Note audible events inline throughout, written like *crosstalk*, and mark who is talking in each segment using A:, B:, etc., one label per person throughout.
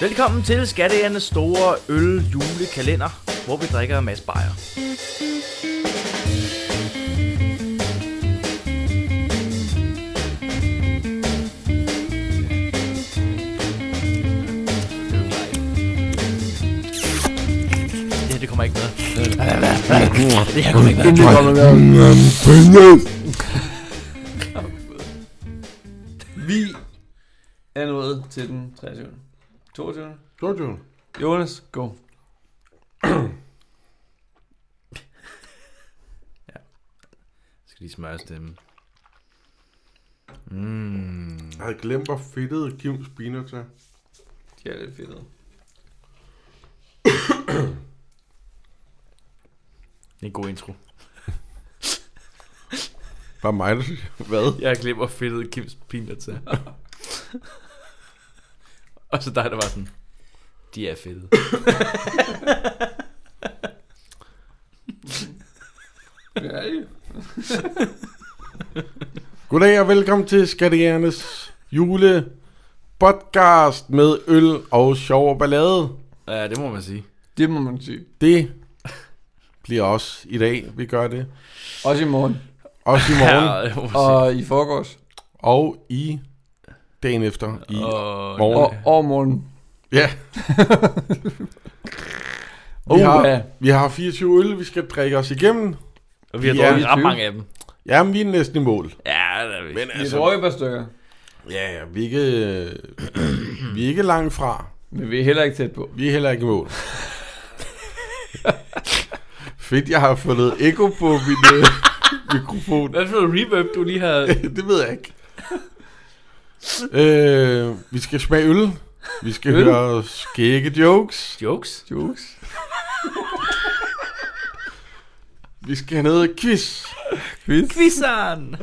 A: Velkommen til Skattejernes store øl julekalender, hvor vi drikker en masse bajer. Det her, det kommer ikke med. Det her kommer ikke med.
B: Vi er nået til den 23. 22.
C: 22.
B: Jonas, go.
A: Jeg skal lige smøre stemmen. Mm,
C: Jeg havde glemt, hvor fedtede Kims peanuts er.
B: De er lidt fedtede.
A: Det er en god intro.
C: Bare mig, der Hvad?
A: Jeg glemmer fedtet Kims peanuts *laughs* til. og så dig, der var sådan, de er fede.
B: Ja, ja.
C: Goddag og velkommen til Skattejernes jule podcast med øl og sjov og ballade.
A: Ja, det må man sige.
B: Det må man sige.
C: Det bliver os i dag, vi gør det.
B: Også i morgen.
C: Også i morgen
A: Ja, det må man sige.
B: Og i forgårs.
C: og i dagen efter. I.
A: Og,
C: morgen.
B: Og overmorgen.
C: Ja,
B: Oh,
C: vi har,
B: ja.
C: vi har 24 øl, vi skal drikke os igennem.
A: og vi har
C: Ja,
A: drukket ret
B: 20.
A: mange af dem.
C: Jamen, vi er næsten i mål.
A: Ja, det er vi. Men,
B: Vi bruger et par stykker.
C: ja, ja, vi er ikke, vi er ikke langt fra.
B: Men vi er heller ikke tæt på.
C: Vi er heller ikke i mål. Fedt, jeg har fundet ekko på min øh, mikrofon. *laughs*
A: Hvad for noget reverb, du lige har...
C: det ved jeg ikke. øh, vi skal smage øl. Vi skal
B: Øl?
C: øl. høre skægge jokes.
A: Jokes?
B: Jokes.
C: Vi skal have noget quiz.
B: Quiz.
A: Quizzeren!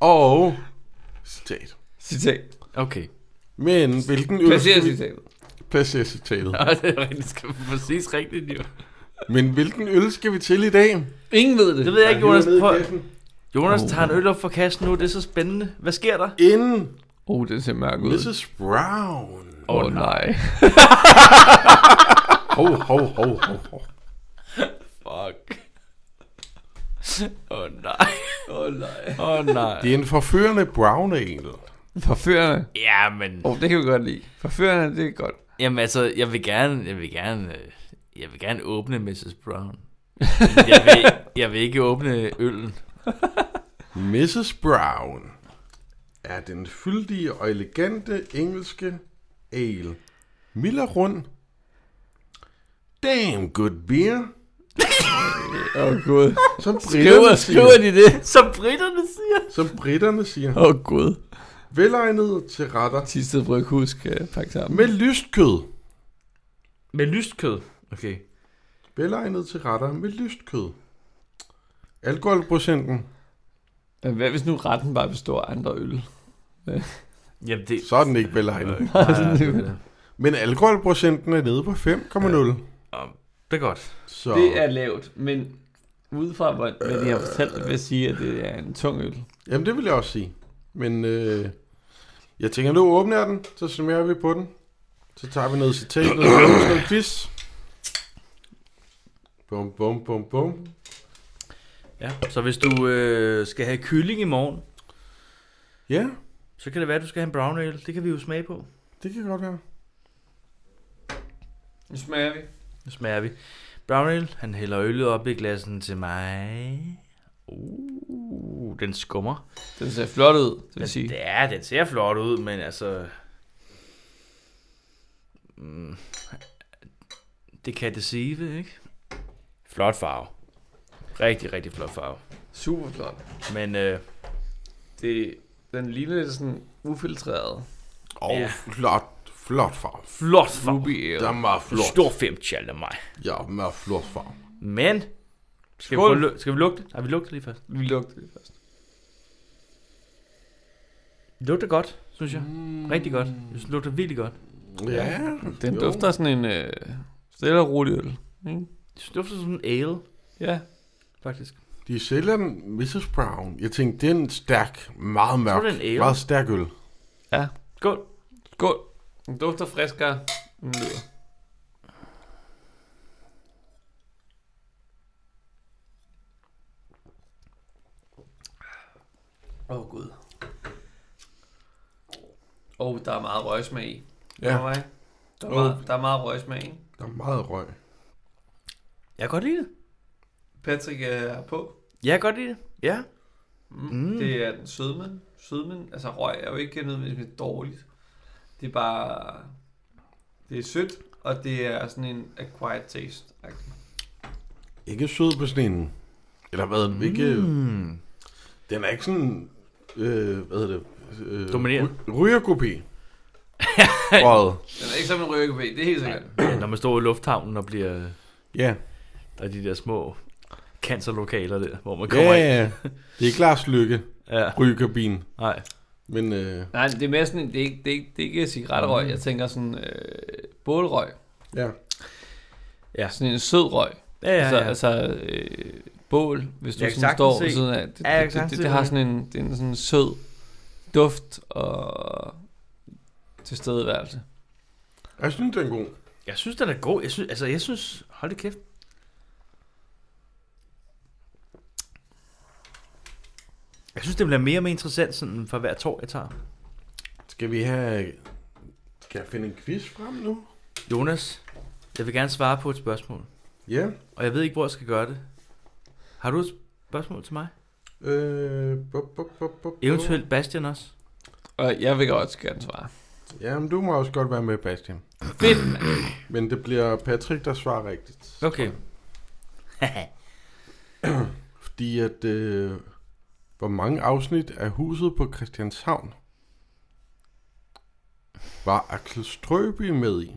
C: Og citat.
B: Citat.
A: Okay. *laughs*
C: Men hvilken øl
B: Placer
C: skal vi...
B: citatet.
C: Placer citatet.
A: Nå, det er rigtigt. Skal vi præcis rigtigt, jo.
C: Men hvilken øl skal vi til i dag?
B: Ingen ved det.
A: Det ved jeg ikke, Jonas. Prøv.
C: Prøv-
A: Jonas tager en øl op for kassen nu. Det er så spændende. Hvad sker der?
C: Inden
B: Oh, det ser mærke ud.
C: Mrs. Brown.
B: Åh, oh, nej.
C: Hov, hov, hov, hov, hov.
A: Fuck. Åh oh, nej. Åh oh, nej. Åh oh,
B: *laughs*
A: nej.
C: Det er en forførende brown ale.
B: Forførende.
A: Ja, men...
B: Åh, oh, det kan vi godt lide. Forførende, det er godt.
A: Jamen altså, jeg vil gerne... Jeg vil gerne... øh, Jeg vil gerne åbne Mrs. *laughs* Brown. Men jeg, vil, jeg vil ikke åbne øllen.
C: Mrs. Brown er den fyldige og elegante engelske ale. Mild og rund. Damn good beer.
B: Åh, oh, gud.
C: Som britterne
B: Skriver, skriver
C: siger.
B: de
A: *laughs*
B: det?
A: Som britterne siger.
C: Som britterne siger.
B: Åh, oh, gud.
C: Velegnet til retter.
B: Tisted Bryghus skal øh, pakke sammen.
C: Med lyst kød.
A: Med lyst kød. Okay.
C: Velegnet til retter med lyst kød. Alkoholprocenten.
B: Men hvad hvis nu retten bare består af andre øl?
A: Jamen det...
C: Så er den ikke
A: *laughs*
C: velegnet.
A: Nej, nej, det, er-
C: Men alkoholprocenten er nede på 5,0.
A: det er godt.
C: Så Øh.
B: Det er lavt, men udefra, hvor, hvad de har fortalt, vil jeg sige, at det er en tung øl.
C: Jamen, det vil jeg også sige. Men øh, jeg tænker, nu åbner jeg den, så summerer vi på den. Så tager vi noget citat, noget, *clears throat* noget, noget quiz. Bum, bum, bum, bum.
A: Ja. Så hvis du øh, skal have kylling i morgen,
C: Ja,
A: så kan det være, at du skal have en brown ale. Det kan vi jo smage på.
C: det kan godt være.
B: Nu smager vi.
A: Nu smager vi. Brown ale, han hælder øllet op i glassen til mig. Uh, den skummer.
B: Den ser flot ud, det vil sige.
A: Det er, den ser flot ud, men altså... Mm, det kan deceive, ikke? Flot farve. Rigtig, rigtig flot farve.
B: Super flot.
A: Men øh,
B: Det, den ligner lidt sådan ufiltreret.
C: Og
A: Ja.
C: ja. flot, flot farve.
A: flot farve.
B: Ruby ale.
C: Der er meget
A: Flot.
C: flot.
A: Stor fem tjal af mig.
C: Ja, meget flot farve.
A: Men... Skal vi,
B: Skål.
A: prøve, at lu- skal vi lugte? Nej, vi lugter lige først.
B: Vi lugter det først.
A: Det lugter godt, synes jeg. Rigtig godt. Jeg synes, det lugter virkelig godt.
C: Ja,
B: Den
C: jo.
B: dufter af sådan en øh, stille og rolig øl. Ikke?
A: Det dufter som en ale,
B: Ja.
A: faktisk.
C: De sælger den Mrs. Brown. Jeg tænkte, det er en stærk, meget mørk,
A: det er en ale.
C: meget stærk øl.
B: Ja.
A: Skål.
B: Skål. Den dufter friskere. Den lyder. Åh, oh, Gud. Åh, oh, der er meget røgsmag i.
C: Ja,
B: Ved du hvad? Der er,
C: Åh.
B: meget, der er meget røgsmag, ikke?
C: der er meget røg.
A: Jeg kan godt lide det.
B: Patrick er på.
A: Jeg kan godt lide det. Ja.
B: Mm.
A: Mm.
B: Mm. Det er den sødmen. Sødmen, altså røg er jo ikke nødvendigvis dårligt. Det er bare... Det er sødt, og det er sådan en acquired taste.
C: Ikke sød på sneen. Eller hvad? Mm. Ikke,
A: Mm.
C: den er ikke sådan... Øh, hvad hedder det? Øh,
A: Dominerende.
C: ry-
A: *laughs*
C: Rygerkopi. Røget.
B: Den er ikke som en røgekopé, det er helt sikkert.
A: Ja, når man står i lufthavnen og bliver...
C: Ja.
A: Der er de der små cancerlokaler der, hvor man
C: Ja,
A: kommer ind.
C: ja, ja. Det er Lars Lykke,
A: Ja,
C: rygerkabinen.
A: nej.
C: Men øh,
B: Nej, det er mere sådan, en- det er ikke, det er ikke, det er ikke cigaretterøg.
A: Mm.
B: Jeg tænker sådan øh, bålrøg.
C: ja.
A: Ja.
B: Sådan en sød røg.
A: Ja, ja,
B: Altså,
A: ja.
B: altså øh, bål, hvis du
A: Jeg kan sagtens
B: sådan står ved
A: se-
B: siden af. Det,
A: Ja, jeg kan
B: det, det,
A: sagtens
B: det,
A: se
B: det har
A: det.
B: sådan en, det er en sådan sød duft og tilstedeværelse.
C: Jeg synes, den er god.
A: Jeg synes, den er god. Jeg synes, altså, jeg synes... Hold det kæft. Jeg synes, det bliver mere og mere interessant sådan for hver tår, jeg tager.
C: Skal vi have... Skal jeg finde en quiz frem nu?
A: Jonas, jeg vil gerne svare på et spørgsmål.
C: Ja.
A: Og jeg ved ikke, hvor jeg skal gøre det. Har du et spørgsmål til mig?
C: Øh, bup, bup, bup, bup,
A: Eventuelt Bastian også.
B: Og jeg vil også gerne svare.
C: Jamen, du må også godt være med, Bastian.
B: Fedt,
C: Men det bliver Patrick, der svarer rigtigt.
A: Okay.
C: Fordi at... Øh, hvor mange afsnit af huset på Christianshavn var Axel Strøby med i?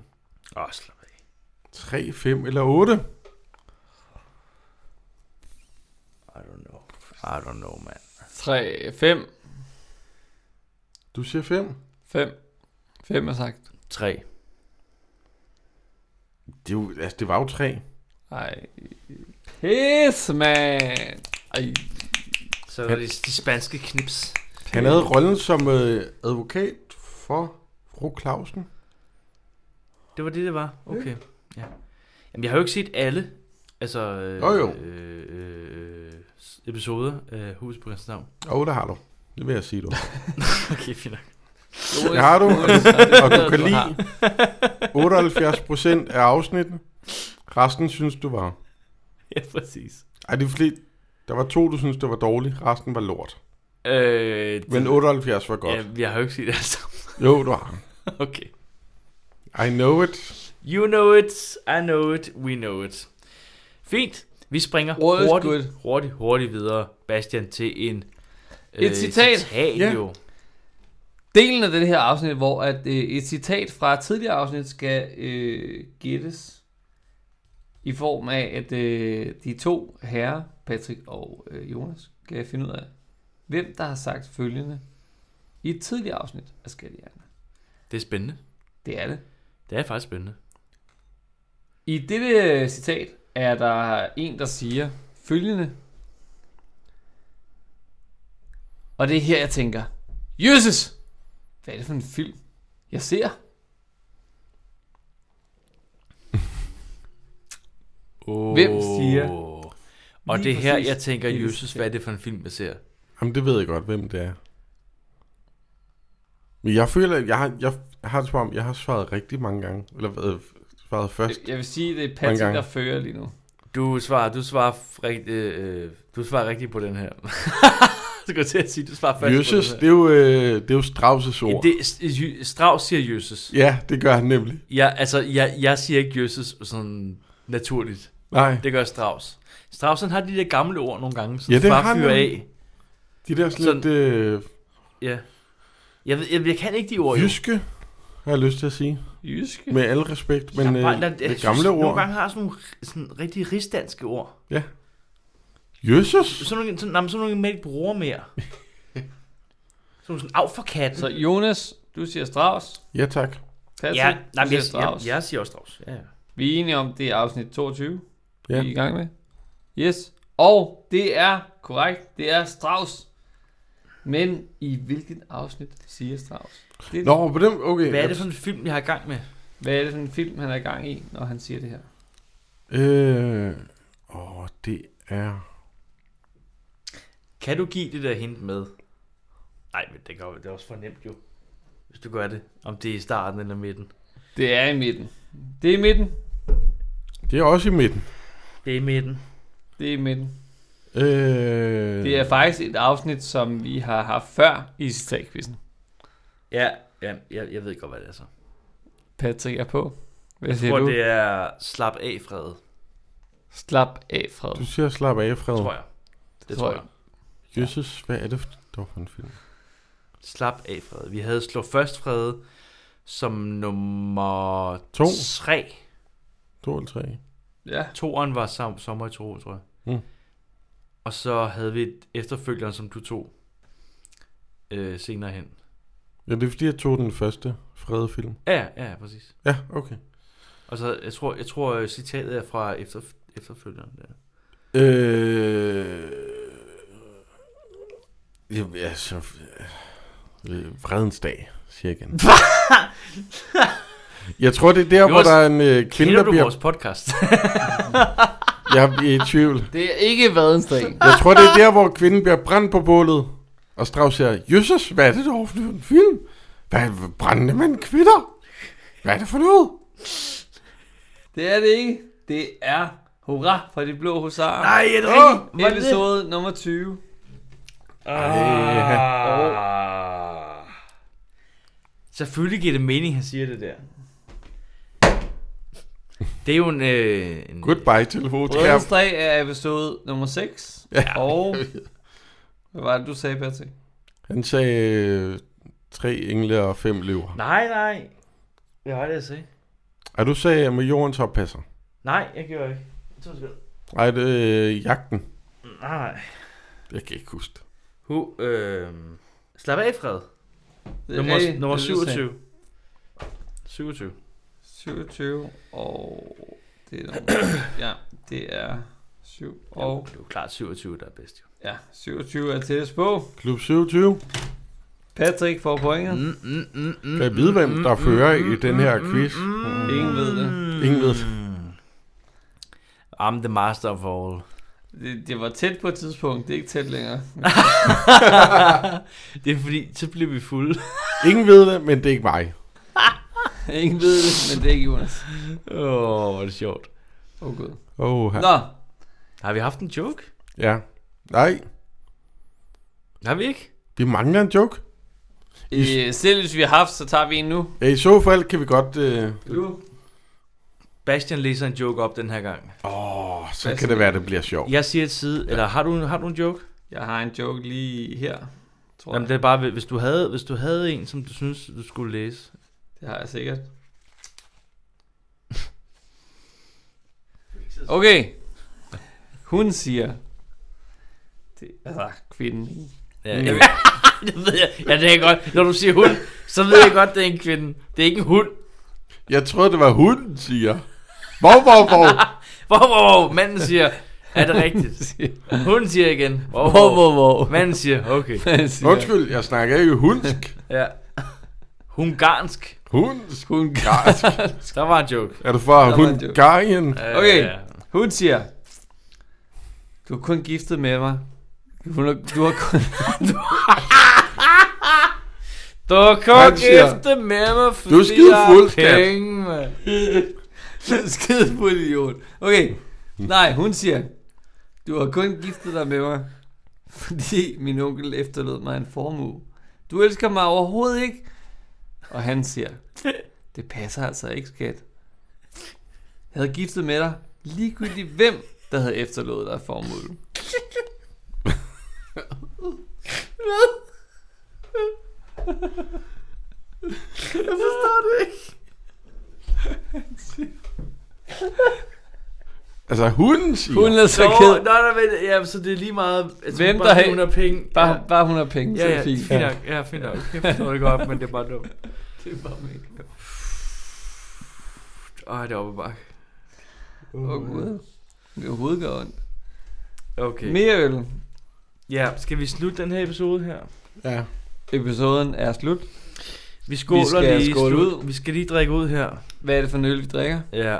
A: Åh, oh, slap af.
C: 3, 5 eller 8?
A: I don't know. I don't know, man.
B: 3, 5,
C: Du siger 5.
B: 5, 5 er sagt.
A: 3.
C: Det, er jo, altså, det var jo 3.
B: Ej, pis, man. Ej,
A: Så er det de spanske knips.
C: Han havde rollen som øh, advokat for fru Clausen.
A: Det var det, det var? Okay. Ja. Jamen, jeg har jo ikke set alle altså, øh,
C: Jo, jo.
A: Øh, øh, s- episoder af Hus på Christianshavn.
C: Åh, oh, der har du. Det vil jeg sige, du.
A: Okay, fint nok.
C: Det har du, og du kan
B: Du har.
C: lide 78 procent af afsnittene. Resten synes du var...
A: Ja, præcis.
C: Ej, det er fordi, der var to, du synes, der var dårligt. Resten var lort.
A: Øh,
C: Men 78 var godt.
A: Ja, jeg har jo ikke set det alle sammen. *laughs*
C: Jo, du har.
A: Okay.
C: I know it.
A: You know it, I know it, we know it. Fint. Vi springer
B: Rådet
A: hurtigt,
B: skud.
A: hurtigt, hurtigt videre, Bastian, til en... øh,
B: Et citat.
A: citat
C: Ja.
A: jo.
B: Delen af det her afsnit, hvor at, øh, et citat fra et tidligere afsnit skal øh, gættes i form af, at øh, de to herrer, Patrick og øh, Jonas, skal finde ud af, hvem der har sagt følgende i et tidligere afsnit af Skattehjerne.
A: Det er spændende.
B: Det er det.
A: Det er faktisk spændende.
B: I dette citat er der en, der siger følgende. Og det er her, jeg tænker, Jesus! Hvad er det for en film, jeg ser?
A: Oh.
B: Hvem siger-
A: Og
B: Lige
A: det er her,
B: præcis
A: jeg tænker,
B: det
A: Jesus,
B: citat.
A: hvad er det for en film, jeg ser?
C: Jamen, det ved jeg godt, hvem det er. Men jeg føler, at jeg har, jeg har det som om, jeg har svaret rigtig mange gange. Eller øh, svaret først.
B: Jeg vil sige, det er
C: Mange
B: Patrick,
C: gange.
B: der fører lige nu.
A: Du svarer, du svarer, rigt, øh, øh, du svarer rigtigt på den her. *laughs* du går til at sige, du svarer først
C: Jesus,
A: på
C: det
A: den
C: er jo, øh, det er jo Strauss'
A: her.
C: ord.
A: Det, det, Strauss siger Jesus.
C: Ja, det gør han nemlig.
A: Jeg, altså, jeg, jeg siger ikke Jesus sådan naturligt.
C: Nej,
A: Det gør Strauss. Strauss han har de der gamle ord nogle gange, som
C: Ja,
A: ja,
C: det
A: det
C: har
A: bare
C: han
A: fyrer
C: nemlig.
A: af.
C: de der sådan
A: Sådan-
C: lidt øh,
A: Ja. Jeg, ved, jeg, jeg kan ikke de ord, jo.
C: jyske, har jeg lyst til at sige.
B: Jyske.
C: Med al respekt, men
A: Jeg
C: øh,
A: bare- der- jeg
C: det
A: synes,
C: gamle
A: Nogle
C: ord.
A: gange har jeg sådan nogle ri- sådan rigtig rigsdanske ord.
C: Jesus!
A: Sådan nogle, sådan, nej, men sådan nogle, man ikke bruger mere.
C: *laughs*
A: sådan nogle sådan, af for katten.
B: Så Jonas, du siger Strauss.
C: Ja, tak.
B: Patrick,
A: ja, nej, men
B: du siger
A: jeg, jeg,
B: Strauss.
A: jeg, siger også Strauss. Ja, ja.
B: Vi er enige om, det er afsnit 22,
C: Ja.
B: vi er i gang med. Yes. Og det er korrekt, det er Strauss. Men i hvilket afsnit siger Strauss? Det,
C: Nå, på dem, okay.
A: Hvad er det for en film, jeg har i gang med?
B: Hvad er det for en film, han er i gang i, når han siger det her?
C: Øh, åh, det er...
A: Kan du give det der hint med? Nej, men det, kan, jo- det er også for nemt jo. Hvis du gør det. Om det er i starten eller midten.
B: Det er i midten. Det er i midten.
C: Det er også i midten.
A: Det er i midten.
B: Det er i midten.
C: Øh,
B: Det er faktisk et afsnit, som vi har haft før i citatquizzen.
A: Ja, ja jeg, jeg ved godt, hvad det er så.
B: Patrick er på. Hvad
A: Jeg
B: siger
A: tror,
B: du?
A: det er slap af, Fred.
B: Slap af, Fred.
C: Du siger slap af, Fred.
A: Tror jeg. Det tror jeg.
C: Jesus, hvad er det for, det var for en film?
A: Slap af, Fred. Vi havde slå først, Fred, som nummer
C: To.
A: 3.
C: To eller tre?
B: Ja.
A: Toren var som, sommer i to, tror jeg.
C: Mm.
A: Og så havde vi et efterfølgeren, som du tog øh, senere hen.
C: Ja, det er fordi, jeg tog den første Fred film.
A: Ja, ja, ja, præcis.
C: Ja, okay.
A: Og så, jeg tror, jeg tror øh, citatet er fra efter, efterfølgeren. Der.
C: Øh... Ja, altså... øh, Vredens dag, siger jeg igen. jeg tror, det er der,
A: Vi
C: hvor
A: også-
C: der er en øh, kvinde,
A: Kender
C: der
A: du
C: bliver...
A: vores
C: *laughs*
A: podcast?
C: Jeg er i tvivl.
B: Det er ikke vadensdag.
C: Jeg tror, det er der, hvor kvinden bliver brændt på bålet. Og Strauss siger, Jesus, hvad er det dog for en film? Hvad hvad brændende man kvitter? Hvad er det for noget?
B: *laughs* Det er det ikke. Det er Hurra fra de blå husarer.
A: Nej, er det
C: Åh,
A: rigtigt? Var det det?
B: Episode nummer 20.
A: Ah. Selvfølgelig giver det mening, han siger det der. Det er jo en... Øh, en
C: Goodbye, telefon.
B: Rødens dag er episode nummer 6.
C: Ja.
A: *laughs*
B: Og... Hvad var det, du sagde, Patrick?
C: Han sagde øh, tre engle og fem løver.
A: Nej, nej. Jeg har det at se.
C: Og du sagde, at med jordens oppasser.
A: Nej, jeg gjorde ikke. To sekunder.
C: Nej, det er øh, jagten.
A: Nej.
C: Jeg kan ikke huske det.
A: Hu, øh, slap af, Fred.
B: Det er
A: Nummer,
B: det,
A: nummer
B: det er det, du sagde.
A: 27. 27.
B: 27, og det er nummer,
A: *coughs*
B: ja, det er 7, og
A: Det er jo klart 27, der er bedst. Jo.
B: ja, 27 er tættest på.
C: Klub 27.
B: Patrick får pointet.
A: Mm, mm, mm, mm,
C: Kan jeg vide, hvem der fører i den her quiz?
B: Ingen ved det.
C: Ingen ved det.
A: I'm the master of
B: *laughs*
A: all. Mm.
B: det. Det var tæt på et tidspunkt, det er ikke tæt længere. *laughs*
A: det er fordi, så bliver vi fulde.
C: Ingen ved det, men det er ikke mig.
B: Ingen ved det, men det er ikke Jonas.
A: Åh, oh, hvor er det sjovt.
B: Åh oh, gud.
C: Åh, oh,
B: Nå,
A: Har vi haft en joke?
C: ja. Nej,
A: Har vi ikke?
C: vi mangler en joke.
B: øh, selv hvis vi har haft, så tager vi en nu.
C: Ja, I så fald kan vi godt... øh,
B: Du.
A: Bastian læser en joke op den her gang.
C: Åh, øh, så
B: Hvad
C: kan det være, det bliver sjovt.
A: Jeg siger et side, eller har du, har du en joke?
B: Jeg har en joke lige her, tror
A: Jamen,
B: jeg.
A: det er bare, hvis du, havde, hvis du havde en, som du synes, du skulle læse.
B: Det har
A: *laughs*
B: jeg sikkert. Okay. Hun siger... Det, altså, kvinden.
A: Ja, jeg, det ved *laughs* jeg. Ja, det er godt. Når du siger hund, så ved jeg godt, det er en kvinde. Det er ikke en hund.
C: Jeg troede, det var hunden, siger. Hvor, hvor,
B: *laughs*
C: hvor?
A: Hvor, hvor, hvor. Manden siger, er det rigtigt? Hunden *laughs* siger igen, hvor,
B: Hvor,
A: hvor,
B: hvor, hvor?
A: Manden siger, okay.
B: *laughs* Man siger,
C: Undskyld, jeg snakker ikke hundsk.
A: Ja. Hungarsk.
C: Hundsk.
B: Hun, *laughs*
A: Der var en joke. Øh,
C: Er du fra
B: Der var en joke.
C: Hungarien?
B: Okay. hun siger... Du er kun giftet med mig. Hun, er- du har kun...
A: Du kan
C: Han siger,
A: gifte med mig, fordi
C: "Du er skide
A: jeg har
C: fuld, skat."
A: penge,
B: *laughs*
A: mand.
B: Skide på idiot. Okay. Nej, hun siger... Du har kun giftet dig med mig, fordi min onkel efterlod mig en formue. Du elsker mig overhovedet ikke. Og han siger... Det passer altså ikke, skat. Jeg havde giftet med dig ligegyldigt hvem, der havde efterlået dig formuen.
A: Jeg forstår det ikke.
C: Altså, hunden siger.
B: Hun er så
A: Nå,
B: ked.
A: nej, nej, vent. Ja, så det er lige meget... Altså,
B: Hvem,
A: bare
B: der
A: fordi
B: har-
A: hun har penge. ja.
B: Bare, bare hun har penge, så
A: Ja,
B: er
A: ja,
B: det
A: fint
B: fint.
A: nok. Ja, fint nok. Jeg forstår det godt, men *laughs* det er bare dumt. Åh, det er oppe bakke.
B: Åh, oh, gud. Mit hoved gør ondt.
A: Okay.
B: Mere øl.
A: Ja, skal vi slutte den her episode her?
C: Ja.
B: Episoden er slut.
A: Vi skåler vi
B: skal
A: skal lige.
B: skåle
A: Skåle
B: ud.
A: ud. Vi skal lige drikke ud her.
B: Hvad er det for en øl, vi drikker?
A: Ja.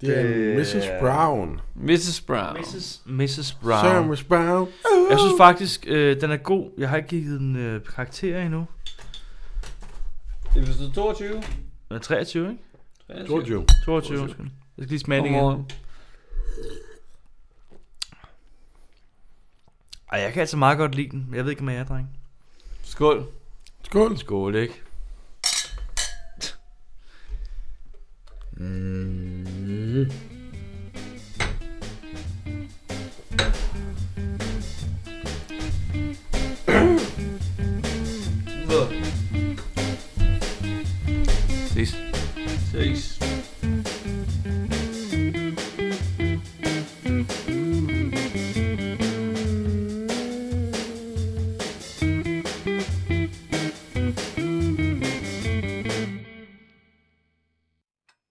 C: Det er
A: Det er-
C: Mrs. Brown.
B: Mrs. Brown.
A: Mrs. Mrs. Brown.
C: Brown. Mrs. Brown.
A: Jeg synes faktisk, øh, den er god. Jeg har ikke givet den øh, karakter endnu.
B: Det bestod 22.
A: Den er 23, ikke?
C: 22.
A: 22, undskyld. Jeg skal lige smage den igen.
B: Godmorgen.
A: Ej, jeg kan altså meget godt lide den. Jeg ved ikke, om jeg er, dreng.
B: Skål.
C: Skål.
A: Skål, ikke? Mm.